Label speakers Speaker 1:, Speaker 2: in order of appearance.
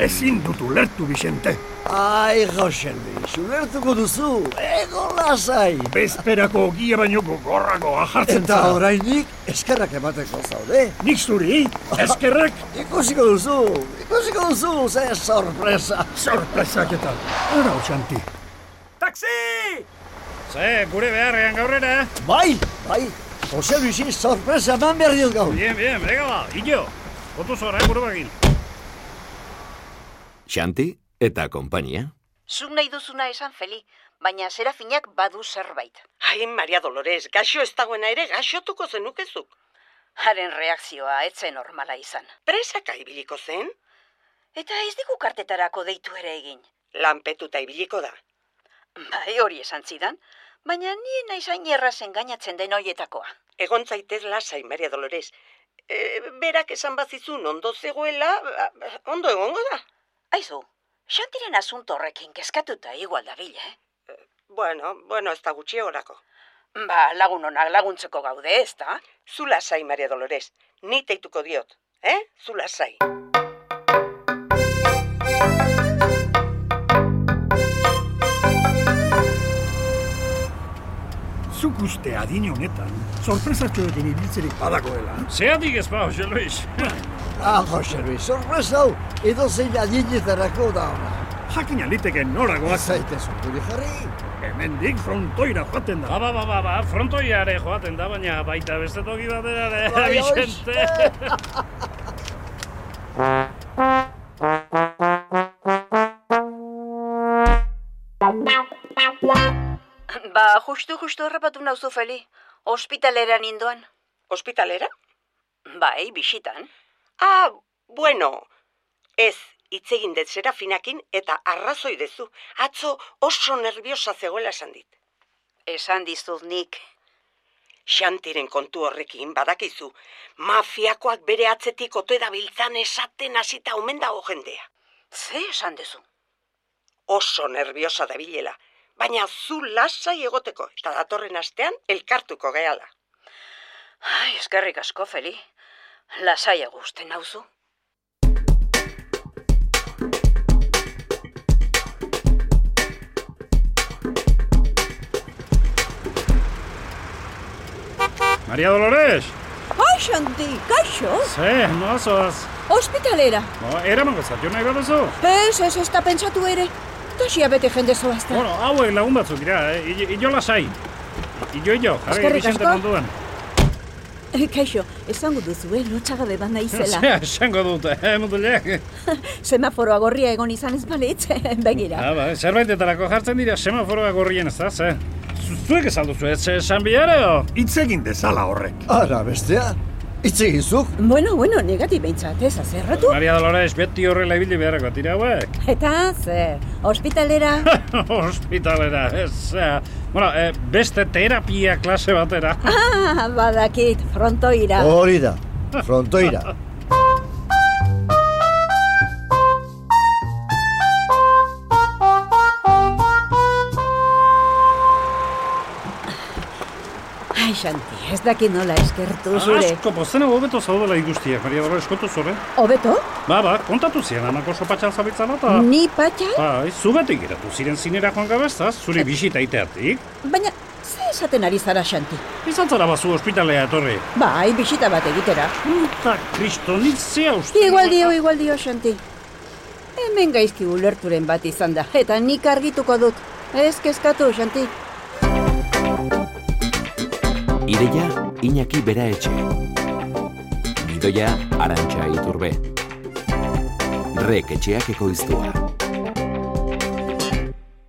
Speaker 1: Ezin dut ulertu, Vicente.
Speaker 2: Ai, Jose Luis, ulertuko duzu, ego lasai.
Speaker 1: Bezperako ogia baino gogorragoa jartzen
Speaker 2: Eta
Speaker 1: zara.
Speaker 2: orainik eskerrak emateko zaude.
Speaker 1: Nik zuri, eskerrak,
Speaker 2: Ikusiko duzu, ikusiko duzu, ze sorpresa.
Speaker 1: sorpresak eta. Ara, Xanti.
Speaker 3: Taxi!
Speaker 4: Ze, Eh, gure beharrean eh? gaurrera.
Speaker 2: Bai, bai, Jose Luisi sorpresa eman behar diot gaur.
Speaker 4: Bien, bien, venga ba, hilo. Kontu zora, eh, buru bagin.
Speaker 3: Xanti eta konpainia.
Speaker 5: Zuk nahi duzuna esan Feli, baina Serafinak badu zerbait.
Speaker 6: Ai, Maria Dolores, gaxo ez dagoena ere gaxotuko zenukezuk.
Speaker 5: Haren reakzioa etzen normala izan.
Speaker 6: Presaka ibiliko zen,
Speaker 5: Eta ez digu kartetarako deitu ere egin.
Speaker 6: lanpetuta ibiliko da.
Speaker 5: Bai, hori esan zidan, baina ni naizain errazen gainatzen den hoietakoa.
Speaker 6: Egon zaitez lasai, Maria Dolores. E, berak esan bazizun ondo zegoela, ba, ondo egongo da.
Speaker 5: Aizu, xantiren asunto horrekin kezkatuta igual dabil, eh?
Speaker 6: E, Bueno, bueno, ez da gutxi horako.
Speaker 5: Ba, lagun onak laguntzeko gaude, ez da?
Speaker 6: Zu lasai, Maria Dolores, ni teituko diot, eh? Zu lasai.
Speaker 1: Zuk uste adin honetan, sorpresatxoekin ibiltzerik badagoela.
Speaker 4: Zeatik ez ba, Jose Luis.
Speaker 2: Ah, Jose Luis, sorpresa hau, edo zein adinetarako da ona.
Speaker 1: Jakin aliteke noragoa
Speaker 2: Ez
Speaker 1: zait.
Speaker 2: zaitezu, gure jarri.
Speaker 1: Hemendik frontoira joaten
Speaker 4: Ba,
Speaker 1: da.
Speaker 4: ba, ba, ba, ba, frontoiare joaten da, baina baita beste toki batera, ere,
Speaker 2: Bai,
Speaker 4: Vicente.
Speaker 5: Ba, justu-justu errapatu nauzu, Feli. Hospitalera nindoan.
Speaker 6: Hospitalera?
Speaker 5: Bai, bisitan.
Speaker 6: Ah, bueno, ez, hitz egin dut serafinakin eta arrazoi dezu. Atzo oso nerviosa zegoela esan dit.
Speaker 5: Esan dizut nik.
Speaker 6: Xantiren kontu horrekin badakizu, mafiakoak bere atzetik ote dabiltzan esaten hasita omen dago jendea.
Speaker 5: Ze esan duzu?
Speaker 6: Oso nerviosa dabilela, baina zu lasai egoteko eta datorren astean elkartuko gehala.
Speaker 5: Ai, eskerrik asko, Feli. Lasaia gusten nauzu.
Speaker 4: Maria Dolores,
Speaker 7: Ai, Xanti, kaixo?
Speaker 4: ze, noazoaz.
Speaker 7: Hospitalera.
Speaker 4: No, eraman gozat, jo nahi baduzu.
Speaker 7: Ez, ez, ez da pentsatu ere. Tasia bete jende zoazta.
Speaker 4: Bueno, hauek lagun batzuk dira, eh? Illo, illo lasai. Illo, illo, jarri
Speaker 7: Eskerrik
Speaker 4: Vicente
Speaker 7: asko.
Speaker 4: munduan.
Speaker 7: Eh, Kaixo, esango duzu, eh, lotxagabe bat naizela.
Speaker 4: Zea, esango dut, eh, mutulek.
Speaker 7: Semaforoa gorria egon izan ez balitz, eh, begira.
Speaker 4: Ah, ba, zerbaitetarako jartzen dira semaforoa gorrien ez da, ze. Zu- Zuek ez alduzu, ez esan bihareo.
Speaker 1: Hitz egin dezala horrek.
Speaker 2: Ara, bestea, hitz egizuk.
Speaker 7: Bueno, bueno, negati behintzat, ez azerratu.
Speaker 4: Maria Dolores, beti horrela ibili beharreko tira hauek.
Speaker 7: Eta, ze, hospitalera.
Speaker 4: Hospitalera, ez. eh, Bueno, eh, beste terapia klase batera.
Speaker 7: Ah, badakit, frontoira.
Speaker 2: Hori da, frontoira.
Speaker 7: Ai, Xanti, ez dakit nola eskertu
Speaker 4: Ah.
Speaker 7: zure.
Speaker 4: Asko pozten hau hobeto zaudela ikustiak, Maria Dolores, kontu zure.
Speaker 7: Hobeto?
Speaker 4: Ba, ba, kontatu zian, amako sopatxan zabitzala eta...
Speaker 7: Ni patxa?
Speaker 4: Bai, zugatik geratu ziren zinera joan gabe, ezta? Zure bisita iteatik.
Speaker 7: Baina, ze esaten ari zara, Xanti?
Speaker 4: Izan zara bazu ospitalea etorri.
Speaker 7: Bai, bisita bat egitera.
Speaker 4: Eta kristonik zea uste.
Speaker 7: Igual dio, igual dio, Xanti. Hemen gaizki ulerturen bat izan da, eta nik argituko dut. Ez kezkatu, Xanti.
Speaker 3: Ideia Iñaki Bera Etxe. Gidoia Arantxa Iturbe. Rek etxeak ekoiztua.